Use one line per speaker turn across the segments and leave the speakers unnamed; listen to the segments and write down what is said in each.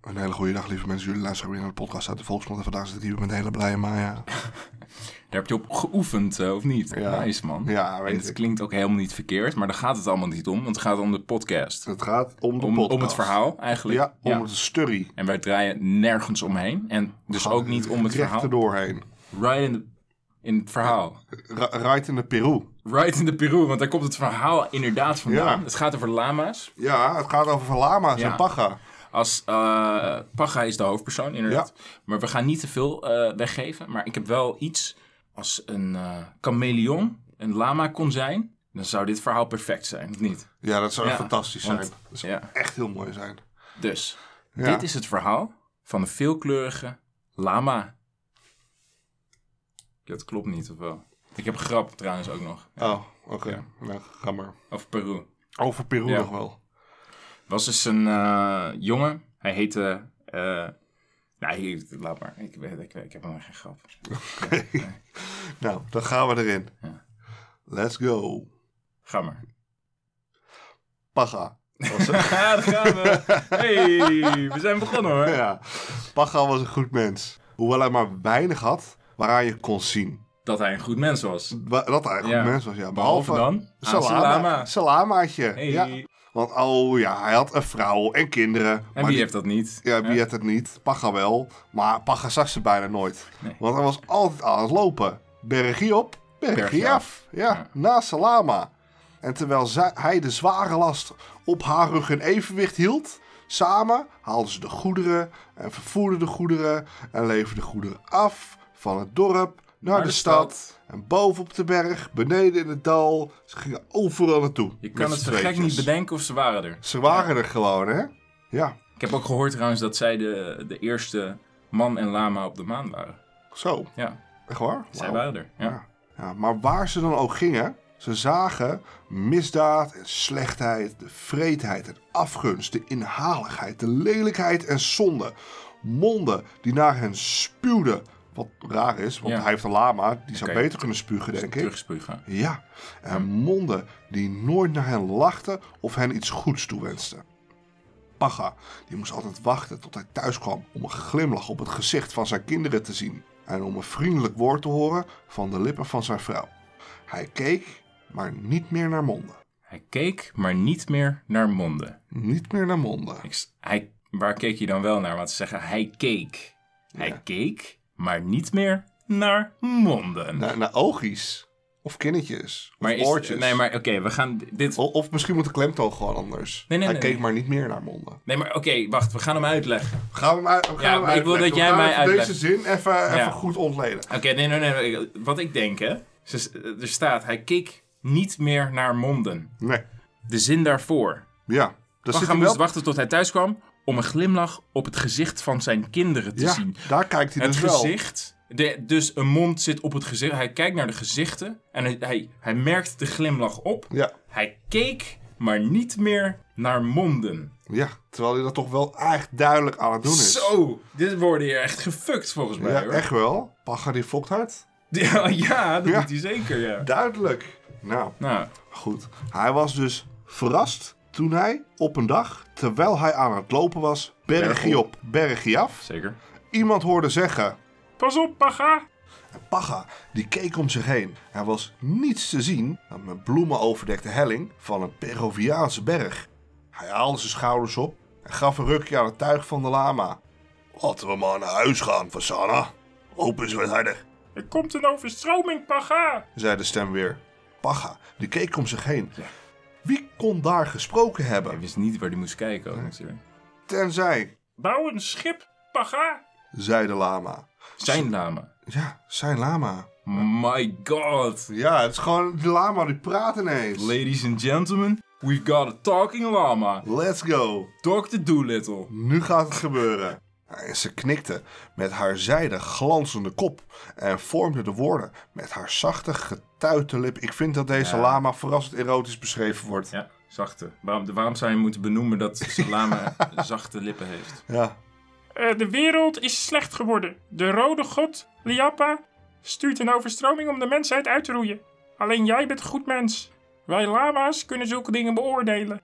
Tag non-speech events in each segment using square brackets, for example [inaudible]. Een hele goede dag, lieve mensen. Jullie luisteren weer naar de podcast uit de Volksmond. En vandaag zit ik hier met een hele blije Maya.
Daar heb je op geoefend, eh, of niet?
Ja.
Nice, man.
Ja,
en
weet
het
ik.
klinkt ook helemaal niet verkeerd, maar daar gaat het allemaal niet om, want het gaat om de podcast.
Het gaat om de
Om,
podcast.
om het verhaal, eigenlijk.
Ja, om het sturry.
En wij draaien nergens omheen. En dus ook niet om het
Recht
verhaal.
erdoorheen.
Right in, the- in het verhaal.
Ra- Right in de Peru.
Right in de Peru, want daar komt het verhaal inderdaad vandaan.
Ja.
Het gaat over lama's.
Ja, het gaat over lama's
Ja.
en paga.
Als, eh Paga is de hoofdpersoon, inderdaad. Maar we gaan niet te veel eh, weggeven. Maar ik heb wel iets als een eh chameleon, een lama kon zijn. Dan zou dit verhaal perfect zijn, of niet?
Ja, dat zou
Ja,
echt fantastisch zijn.
want-
dat zou
Ja.
echt heel mooi zijn.
Dus,
Ja.
dit is het verhaal van een veelkleurige lama. Dat klopt niet, of wel? Ik heb een grap trouwens ook nog.
Oh, oké. Nou, ga maar.
Over Peru.
Over Peru
Ja.
nog wel.
was dus een eh, jongen. Hij heette. eh nee, ik- laat maar. Ik, weet- ik, ik heb helemaal geen grap.
[laughs] Nou, dan gaan we erin.
Ja.
Let's go.
Ga maar.
Paga.
[laughs]
Was een-
Ja, daar gaan we. Hey, we zijn begonnen [laughs] hoor.
ja. Paga was een goed mens. Hoewel hij maar weinig had waaraan je kon zien.
Dat hij een goed mens was.
Wa- Dat hij een goed
Ja.
mens was, ja.
Behalve dan aan Salama.
Salama. Salamaatje.
Hey.
Ja. Want oh ja, hij had een vrouw en kinderen. maar
En wie
die-
heeft dat niet?
Ja, wie had het niet? Paga wel. Maar Paga zag ze bijna nooit.
Nee.
Want hij was altijd aan het lopen. Bergie op, bergie
Bergie
af. Ja,
Ja.
na Salama. En terwijl zij, hij de zware last op haar rug in evenwicht hield... samen haalden ze de goederen en vervoerden de goederen... en leverden de goederen af van het dorp naar, de, stad. En boven op de berg, beneden in het dal... ze gingen overal naartoe.
Je kan
met
het
z'n
zo gek
tweetjes.
niet bedenken of ze waren er.
Ze waren er gewoon, hè? Ja,
Ik heb ook gehoord trouwens dat zij de, de eerste man en lama op de maan waren.
zo.
Ja,
Echt waar?
zij
Wauw.
waren er. Ja.
Ja. Ja, maar waar ze dan ook gingen, ze zagen misdaad en slechtheid, de vreedheid en afgunst, de inhaligheid, de lelijkheid en zonde. Monden die naar hen spuwden. Wat raar is, want
Ja.
hij heeft een lama, die zou
Oké.
beter kunnen spugen,
Dus
denk ik.
Terugspugen.
Ja, en monden die nooit naar hen lachten of hen iets goeds toewensten. Paga, die moest altijd wachten tot hij thuis kwam om een glimlach op het gezicht van zijn kinderen te zien en om een vriendelijk woord te horen van de lippen van zijn vrouw. Hij keek, maar niet meer naar monden.
Hij keek, maar niet meer naar monden.
Niet meer naar monden.
Ik s- hij, waar keek je dan wel naar? Want ze zeggen, hij keek. Hij keek, maar niet meer naar monden.
Naar, naar oogjes. Of kinnetjes. Of
maar
oortjes.
nee, maar oké, we gaan dit...
O- Of misschien moet de klemtoon gewoon anders.
Nee, nee,
hij
nee,
keek
nee.
maar niet meer naar monden.
Nee, maar oké, wacht, we gaan hem uitleggen.
Gaan we hem uit. we gaan
Ja,
hem
maar ik wil
uitleggen. We
dat jij
gaan
mij
even
uitlegt.
Deze zin even,
Ja.
even goed ontleden.
Oké, nee, nee, nee, nee, wat ik denk, hè. Ze- Er staat, hij keek niet meer naar monden.
Nee.
De zin daarvoor.
Ja. Daar zit
Pacha
hij
moest
wel...
dus wachten tot hij thuis kwam om een glimlach op het gezicht van zijn kinderen te
ja,
zien.
daar kijkt hij
Het
dus wel.
gezicht. De, dus een mond zit op het gezicht. Hij kijkt naar de gezichten en hij, hij, hij merkt de glimlach op.
Ja.
Hij keek, maar niet meer naar monden.
ja, terwijl hij dat toch wel echt duidelijk aan het doen is.
Zo, dit worden hier echt gefukt volgens mij.
Ja,
hoor.
echt wel. Pacha die fokt hard.
[laughs] Ja, ja, dat
Ja.
doet hij zeker, ja.
Duidelijk. Nou,
Nou,
goed. Hij was dus verrast toen hij op een dag, terwijl hij aan het lopen was, bergje op, bergje af,
zeker.
iemand hoorde zeggen...
Pas op, paga.
Pacha, die keek om zich heen. Er was niets te zien dan een bloemen overdekte helling van een Peruviaanse berg. Hij haalde zijn schouders op en gaf een rukje aan het tuig van de lama. Laten we maar naar huis gaan, Fasana. Loop eens wat harder,
Er komt een overstroming, paga.
zei de stem weer. Pacha, die keek om zich heen. Wie kon daar gesproken
Hij
hebben?
wist niet waar hij moest kijken ook natuurlijk.
Tenzij,
Bouw een schip, paga.
zei de lama.
Zijn lama.
Ja, zijn lama.
My god.
Ja, het is gewoon de lama die praat ineens.
Ladies and gentlemen, we've got a talking llama.
Let's go.
Dr. Doolittle.
Nu gaat het gebeuren. En ze knikte met haar zijde glanzende kop en vormde de woorden met haar zachte getuite lip. Ik vind dat deze lama verrassend erotisch beschreven wordt.
Ja, zachte. Waarom, waarom zou je moeten benoemen dat Salama [laughs] zachte lippen heeft?
Ja,
Eh, de wereld is slecht geworden. De rode god, Liappa, stuurt een overstroming om de mensheid uit te roeien. Alleen jij bent een goed mens. Wij lama's kunnen zulke dingen beoordelen.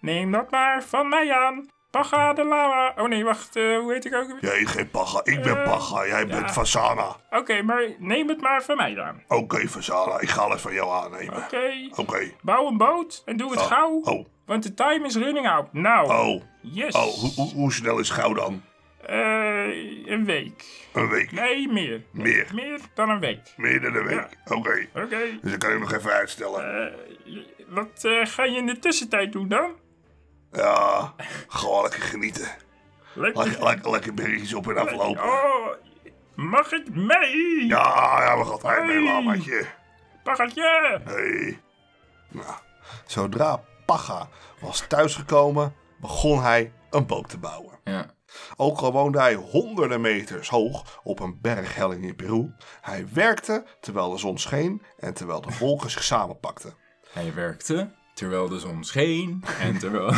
Neem dat maar van mij aan. Paga de lama. Oh nee, wacht. eh, hoe heet ik ook? weer?
Jij heet geen Paga, ik ben
Eh,
Paga, jij bent Fasana.
Oké, maar neem het maar van mij dan.
Oké, Fasana, ik ga alles van jou aannemen.
Oké.
Oké.
Bouw een boot en doe het
Oh,
gauw.
Oh,
Want de time is running out. Nou.
oh,
Yes.
oh, hoe, hoe, hoe snel is gauw dan?
Eh, een week.
Een week,
Nee, meer.
meer,
Meer dan een week.
meer dan een week. Oké,
Oké.
dus dan kan ik nog even uitstellen.
Eh, wat eh, ga je in de tussentijd doen dan?
Ja, gewoon lekker genieten. Lekker,
Lekker.
lekker, lekker berries op en aflopen.
Oh, mag ik mee?
Ja, ja, we gaan altijd mee,
Hey.
lamaatje.
Pagatje.
Hey. Nou, zodra Pacha was thuisgekomen, begon hij een boot te bouwen.
Ja.
Ook al woonde hij honderden meters hoog op een berghelling in Peru, hij werkte terwijl de zon scheen en terwijl de wolken zich samenpakten.
Hij werkte terwijl de zon scheen en terwijl...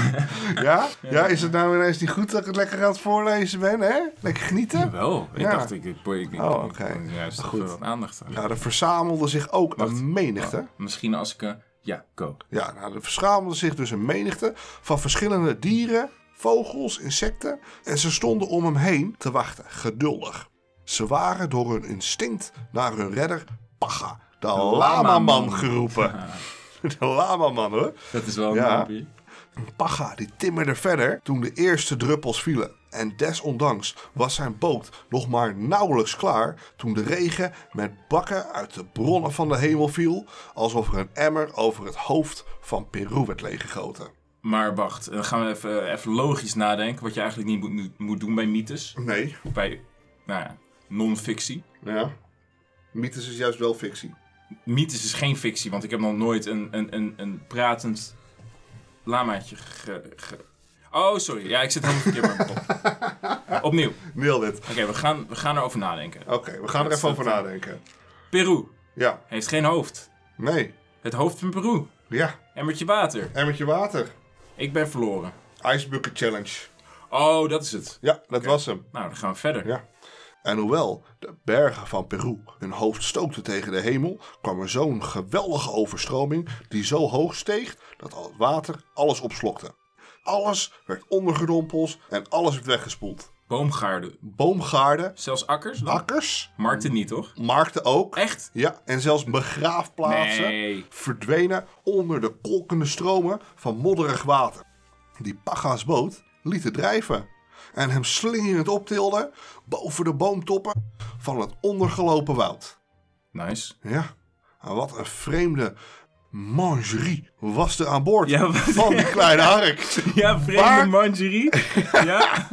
Ja? ja, is het nou ineens niet goed dat ik het lekker aan het voorlezen ben, hè? Lekker genieten?
Wel, ik
Ja.
dacht ik... ik, ik, ik
Oh,
ik-
oké.
ik- Juist
Goed.
even wat aandacht aan.
Nou, er verzamelde zich ook een menigte.
Misschien als ik... eh, ja, go.
Ja, nou, er verzamelde zich dus een menigte van verschillende dieren, vogels, insecten. En ze stonden om hem heen te wachten, geduldig. Ze waren door hun instinct naar hun redder Pacha, de lamaman,
lamaman.
geroepen. De lamaman hoor.
Dat is wel een
Ja.
naampie.
Pacha die timmerde verder toen de eerste druppels vielen. En desondanks was zijn boot nog maar nauwelijks klaar toen de regen met bakken uit de bronnen van de hemel viel, alsof er een emmer over het hoofd van Peru werd leeggegoten.
Maar wacht, dan gaan we even, even logisch nadenken. Wat je eigenlijk niet moet, moet doen bij mythes.
Nee,
Of bij, nou ja, non-fictie.
Nou ja. Mythes is juist wel fictie.
Mythes is geen fictie, want ik heb nog nooit een, een, een, een pratend lamaatje ge, ge- Oh, sorry. Ja, ik zit helemaal verkeerd bij mijn kop. Opnieuw. Oké,
Neel dit. Oké,
we, gaan, we gaan erover nadenken.
we gaan er
Dat
even
is
over
het, eh,
nadenken.
Peru
Ja,
heeft geen hoofd.
nee,
Het hoofd van Peru.
ja.
Emmertje water.
Emmertje water.
Ik ben verloren.
Ice Bucket Challenge.
Oh, dat is het.
Ja, dat was hem.
Nou, dan gaan we verder.
Ja. En hoewel de bergen van Peru hun hoofd stookten tegen de hemel, kwam er zo'n geweldige overstroming die zo hoog steeg dat al het water alles opslokte. Alles werd ondergedompeld en alles werd weggespoeld.
Boomgaarden.
Boomgaarden,
Zelfs akkers? dan?
akkers,
Markten niet, toch?
markten ook.
Echt?
Ja, en zelfs begraafplaatsen
Nee.
verdwenen onder de kolkende stromen van modderig water. Die Paga's boot lieten drijven en hem slingerend optilde boven de boomtoppen van het ondergelopen woud.
Nice.
Ja, en wat een vreemde mangerie was er aan boord
Ja, wat-
van die
[laughs]
kleine hark.
Ja,
Waar-
vreemde
[laughs]
mangerie. ja.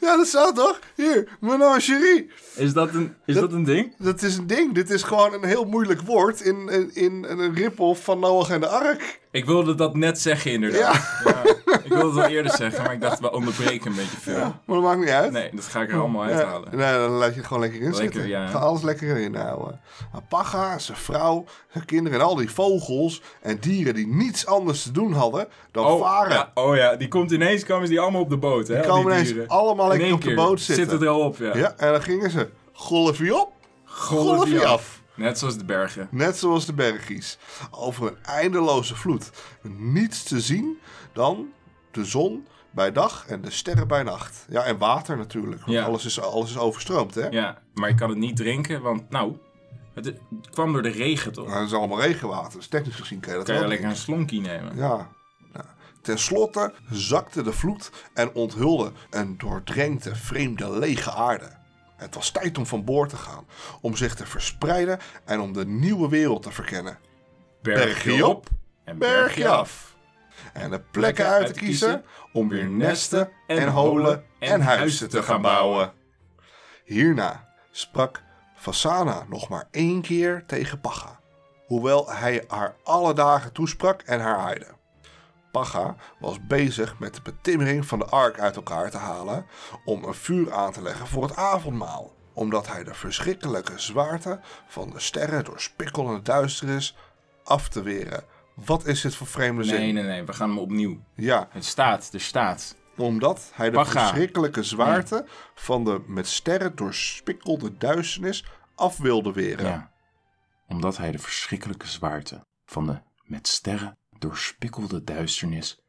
Ja, dat staat toch? Hier, menagerie.
Is dat een, is dat een ding?
Dat is een ding. Dit is gewoon een heel moeilijk woord in, in, in een rip-off van Noach en de Ark.
Ik wilde dat net zeggen, inderdaad. Ja. Ik wilde het wel eerder zeggen, maar ik dacht, we onderbreken een beetje veel.
Maar dat maakt niet uit.
Nee, dat ga ik er allemaal
Ja,
uithalen.
Nee, dan laat je het gewoon lekker in
Lekker,
zitten.
ja.
Ga alles lekker in houden. Maar Pacha, zijn vrouw, zijn kinderen en al die vogels en dieren die niets anders te doen hadden dan varen.
ja, oh ja, die komt ineens, komen ze die allemaal op de boot, hè? al
komen ineens
dieren.
allemaal
In
lekker
één
op de
keer
boot zitten.
Zit het er al op, ja.
Ja, en dan gingen ze golfie op,
Golf
golfie
je
af.
Net zoals de bergen.
Net zoals de bergies. Over een eindeloze vloed. Niets te zien dan de zon bij dag en de sterren bij nacht. Ja, en water natuurlijk. Want
Ja.
alles, is, alles is overstroomd, hè?
Ja, maar ik kan het niet drinken, want nou, het, het kwam door de regen, toch?
Maar het is allemaal regenwater, dus technisch gezien kan je dat
Kan je
wel
lekker een slonkie nemen.
Ja. Ja. Ten slotte zakte de vloed en onthulde een doordrenkte, vreemde, lege aarde. Het was tijd om van boord te gaan, om zich te verspreiden en om de nieuwe wereld te verkennen. Bergje op,
en
Bergje af! En de plekken uit te kiezen om weer nesten en holen en huizen te gaan bouwen. Hierna sprak Fasana nog maar één keer tegen Pacha, hoewel hij haar alle dagen toesprak en haar aaide. Pacha was bezig met de betimmering van de ark uit elkaar te halen om een vuur aan te leggen voor het avondmaal, omdat hij de verschrikkelijke zwaarte van de sterren door spikkelende duisternis af te weren. Wat is dit voor vreemde zin?
Nee, nee, nee, we gaan hem opnieuw.
Ja,
Het staat, er staat.
omdat hij de
Pacha.
verschrikkelijke zwaarte van de met sterren doorspikkelde duisternis af wilde weren.
Ja. Omdat hij de verschrikkelijke zwaarte van de met sterren doorspikkelde duisternis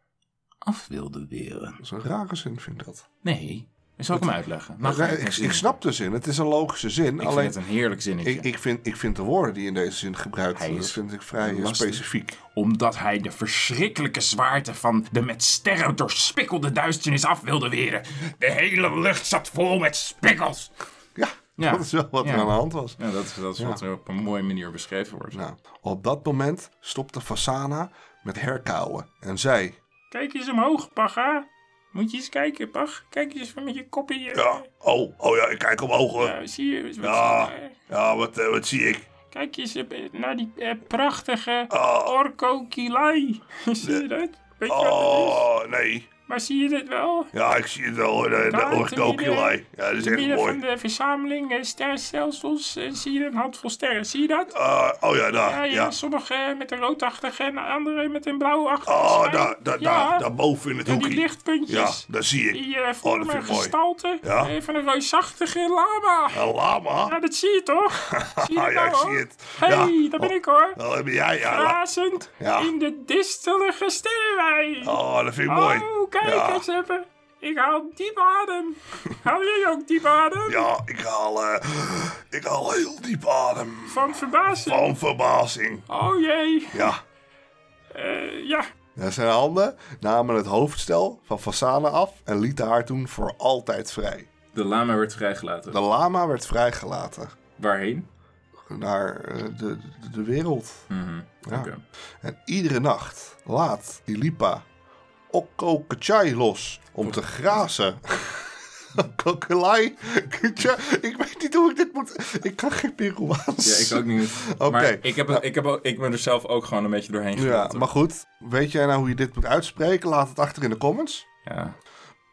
af wilde weren.
Dat is een rare zin, vind ik dat.
Nee, zal ik hem uitleggen?
Maar,
Mag
ik, ik snap de zin. Het is een logische zin.
Ik
alleen
vind het een heerlijk zinnetje.
ik, ik, vind, ik vind de woorden die in deze zin gebruikt
Hij
worden,
is
vind ik vrij eh,
lastig.
specifiek.
Omdat hij de verschrikkelijke zwaarte van de met sterren doorspikkelde duisternis af wilde weren. De hele lucht zat vol met spikkels.
Ja,
Ja.
dat is wel wat er
Ja.
aan de hand was.
Ja, dat, dat is wat er op een mooie manier beschreven wordt.
Nou, op dat moment stopte Fasana met herkauwen en zei...
Kijk eens omhoog, Paga. Moet je eens kijken, Pag. Kijk eens met je kopie. eh,
Ja, oh, oh ja, ik kijk omhoog. hoor.
eh, zie je? Wat,
Ja,
eh,
ja wat, eh, wat zie ik?
Kijk eens eh, naar die eh, prachtige
Ah.
Orko Kilai. [laughs] zie je dat? Weet je wat het is?
Oh, nee.
Maar zie je dit wel?
Ja, ik zie het al. De, de
Daar, te
oorkookjelei.
midden-
Ja, dat is
In het
echt
midden van
mooi.
de verzameling eh, sterrenstelsels eh, zie je een handvol sterren. Zie je dat?
Ah, oh ja,
Ja,
daar.
ja,
Ja.
sommige eh, met een roodachtige en andere met een blauwachtige
Oh,
schijn.
daar, daar,
Ja,
daar. Daarboven in het
en die
hoekje. Ja,
lichtpuntjes.
daar zie ik.
Die eh,
Oh, dat
vormen
vind
een
ik mooi.
gestalte
Ja.
eh, van een reusachtige lama. Ja,
Een lama.
dat zie je toch? zie je
Ah,
dat
[laughs] ja,
nou,
ik
hoor?
zie het.
Hé,
Ja.
daar ben ik hoor.
Dat heb jij, ja. la-
Razend
Ja.
in de distelige sterrenwei.
Oh, dat vind ik mooi.
Oh, kijk
Ja.
eens even. Ik haal diep
[laughs]
adem. Haal jij ook diep adem?
Ja, ik haal, eh, ik haal heel diep adem.
Van verbazing.
Van verbazing.
Oh jee.
Ja.
Eh, ja,
Ja, zijn handen namen het hoofdstel van Fasana af en lieten haar toen voor altijd vrij.
De lama werd vrijgelaten.
De lama werd vrijgelaten
Waarheen?
naar eh, de, de, de wereld. Ja.
Oké.
En iedere nacht laat Ilipa Okko Kachai los om te
[laughs]
grazen. Kokelai. Ik weet niet hoe ik dit moet. Ik kan geen Peruaans.
Ja, ik ook niet.
Oké.
Maar ik, heb, ik, heb ook, ik ben er zelf ook gewoon een beetje doorheen
Ja,
gegaan.
maar goed. Weet jij nou hoe je dit moet uitspreken? Laat het achter in de comments.
Ja.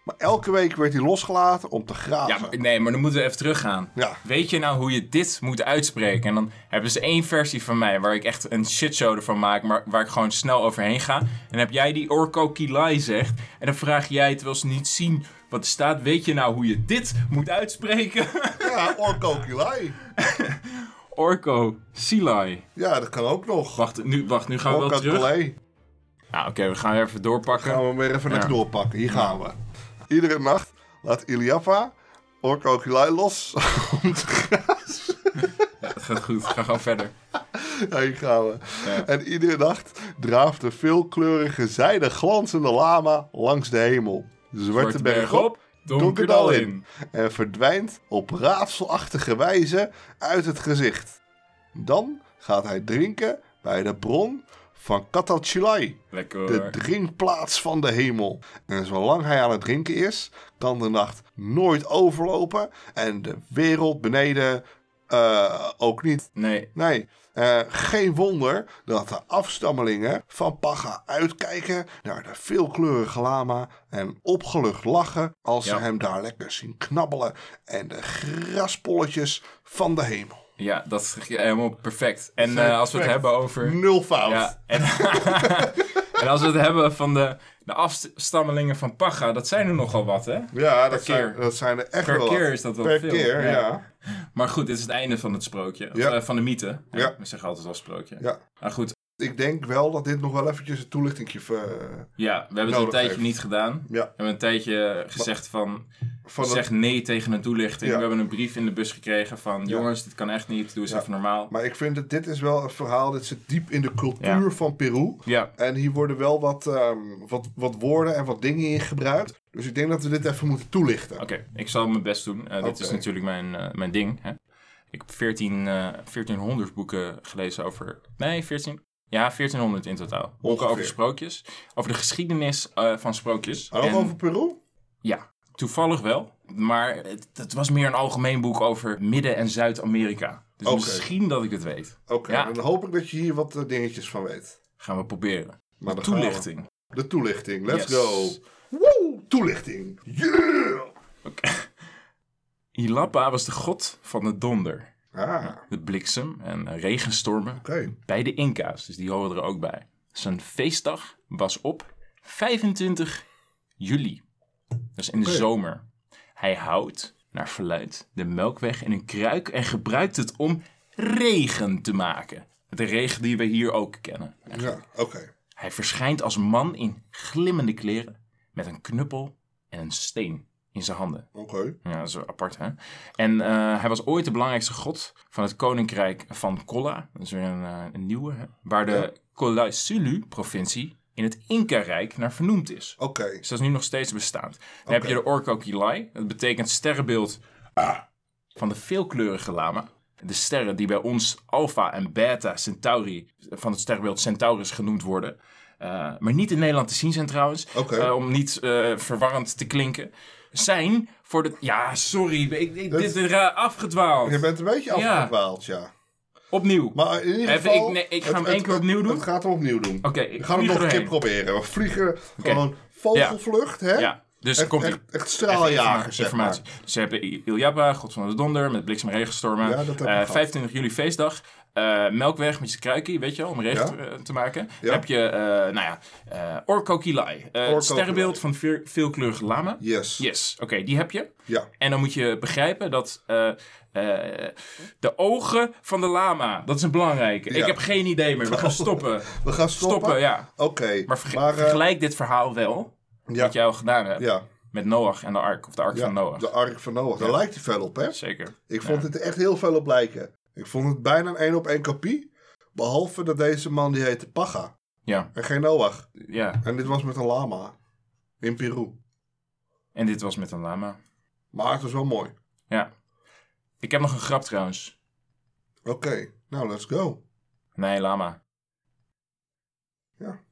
Maar elke week werd hij losgelaten om te
Ja,
grazen.
maar- nee, maar dan moeten we even teruggaan.
Ja.
Weet je nou hoe je dit moet uitspreken? En dan hebben ze één versie van mij waar ik echt een shitshow ervan maak, maar waar ik gewoon snel overheen ga. En dan heb jij die Orko Kilai zegt. En dan vraag jij, terwijl ze niet zien wat er staat, weet je nou hoe je dit moet uitspreken? [laughs]
Ja, Orko Kilai.
Orko Silai.
Ja, dat kan ook nog.
Wacht, nu, wacht, nu gaan we
Orko
wel terug.
Kilai.
Nou, oké, we gaan weer even doorpakken.
Gaan we hem weer even
Ja.
lekker doorpakken. Hier gaan we. Iedere nacht laat Iliapa Orko Kilai los [laughs] om te grazen.
Ja, het gaat goed, ga gewoon verder.
Ja, hier gaan we.
Ja.
En iedere nacht draaft de veelkleurige zijde glanzende lama langs de hemel. De zwarte berg op, donkerdal in. En verdwijnt op raadselachtige wijze uit het gezicht. Dan gaat hij drinken bij de bron van Katalchilai,
Lekker hoor.
de drinkplaats van de hemel. En zolang hij aan het drinken is, kan de nacht nooit overlopen en de wereld beneden eh, ook niet.
Nee,
Nee, eh, geen wonder dat de afstammelingen van Pacha uitkijken naar de veelkleurige lama en opgelucht lachen als
Ja.
ze hem daar lekker zien knabbelen en de graspolletjes van de hemel.
ja, dat is helemaal perfect. En
Perfect.
eh, als we het hebben over...
Nul fout.
Ja, en, [laughs] en als we het hebben van de, de afstammelingen van Pacha, dat zijn er nogal wat, hè?
Ja, dat,
keer.
zijn, dat zijn er echt
Per
wel
keer
wat.
is dat wel
Per
veel.
keer, ja.
Ja.
ja.
Maar goed, dit is het einde van het sprookje. Of,
Ja.
eh, van de mythe. hè?
Ja.
We zeggen altijd al sprookje. Maar goed,
Ik denk wel dat dit nog wel eventjes een toelichting ver...
ja, we hebben het
Nodig
een tijdje
heeft.
niet gedaan. We
Ja,
hebben een tijdje gezegd van,
van het-
zeg nee tegen een toelichting.
Ja.
We hebben een brief in de bus gekregen van, jongens, dit kan echt niet, doe eens
Ja.
even normaal.
maar ik vind dat dit is wel een verhaal, dit zit diep in de cultuur
Ja.
van Peru.
Ja,
En hier worden wel wat, ehm, wat, wat woorden en wat dingen in gebruikt. Dus ik denk dat we dit even moeten toelichten.
Oké, ik zal mijn best doen. Eh, Dit is
Oké.
natuurlijk mijn, eh, mijn ding. Hè? Ik heb 14, eh 1400 boeken gelezen over. Nee, 14. Ja, 1400 in totaal. Boeken
Ongeveer.
over sprookjes. Over de geschiedenis eh, van sprookjes.
Maar ook
En-
Oh, over Peru?
Ja, toevallig wel. Maar het, het was meer een algemeen boek over Midden- en Zuid-Amerika. Dus
Oké.
misschien dat ik het weet.
Oké,
Ja.
dan hoop ik dat je hier wat eh, dingetjes van weet.
Gaan we proberen.
Maar dan gaan we.
Toelichting.
De toelichting, let's
Yes.
go. Woe, toelichting. Yeah!
Oké. Ilapa was de god van de donder,
Ah, oké.
de bliksem en eh, regenstormen. bij de Inca's, dus die horen er ook bij. Zijn feestdag was op 25 juli. Dus in de
Oké.
zomer. Hij houdt, naar verluid, de melkweg in een kruik en gebruikt het om regen te maken. De regen die we hier ook kennen.
Ja, oké.
Hij verschijnt als man in glimmende kleren met een knuppel en een steen in zijn handen.
Oké.
Ja, dat is wel apart, hè? En eh, hij was ooit de belangrijkste god van het koninkrijk van Kolla. Dat is weer een, eh, een nieuwe, hè? Waar de Kolasulu-provincie in het Inca-rijk naar vernoemd is.
Oké.
Dus dat is nu nog steeds bestaand. Dan heb je de Orko Kilai. Dat betekent sterrenbeeld van de veelkleurige lama. De sterren die bij ons Alpha en Beta Centauri van het sterrenbeeld Centaurus genoemd worden. Eh, maar niet in Nederland te zien zijn trouwens.
Oké.
Eh, om niet eh, verwarrend te klinken. Zijn voor de... Ja, sorry. Ik, ik, dit is ra- afgedwaald.
Je bent een beetje
Ja.
afgedwaald, ja.
Opnieuw.
Maar in ieder
Even,
geval...
ik- nee, ik ga
het-
hem
het-
één keer
het-
opnieuw doen.
Het gaat hem opnieuw doen.
Oké, ik
We gaan hem
vlieg
nog een keer
erheen.
proberen. We vliegen gewoon vogelvlucht, hè?
Ja, dus
Echt,
komt
echt, echt straaljager, zeg maar.
informatie. Dus ze hebben I- Iljapa, God van de Donder, met bliksem en regenstormen.
Ja, dat heb ik
Eh,
gehad.
25 juli feestdag. Eh, Melkweg met je kruikie, weet je wel, om regen
Ja.
te- eh, te maken.
Ja.
Dan heb je, eh nou ja, eh Orko Kilai. Eh,
Orko
het sterrenbeeld
Kilai.
van veer- veelkleurige lama.
Yes.
Yes, oké, die heb je.
Ja.
En dan moet je begrijpen dat eh, eh, de ogen van de lama, dat is een belangrijke.
Ja.
Ik heb geen idee meer, we gaan stoppen.
We gaan stoppen.
stoppen, ja.
Oké.
Maar, verge-
eh,
vergelijk dit verhaal wel,
ja,
wat jij al gedaan hebt,
ja,
met Noach en de ark, of de ark
ja,
van Noach.
de Ark van Noach. Daar lijkt hij veel op, hè?
Zeker.
Ik vond het er echt heel veel op lijken. Ik vond het bijna een één op één kopie. Behalve dat deze man die heette Paga.
Ja,
En geen Noach.
ja.
En dit was met een lama. In Peru.
En dit was met een lama.
Maar het was wel mooi.
Ja. Ik heb nog een grap trouwens.
Oké, nou let's go.
Nee, lama.
Ja.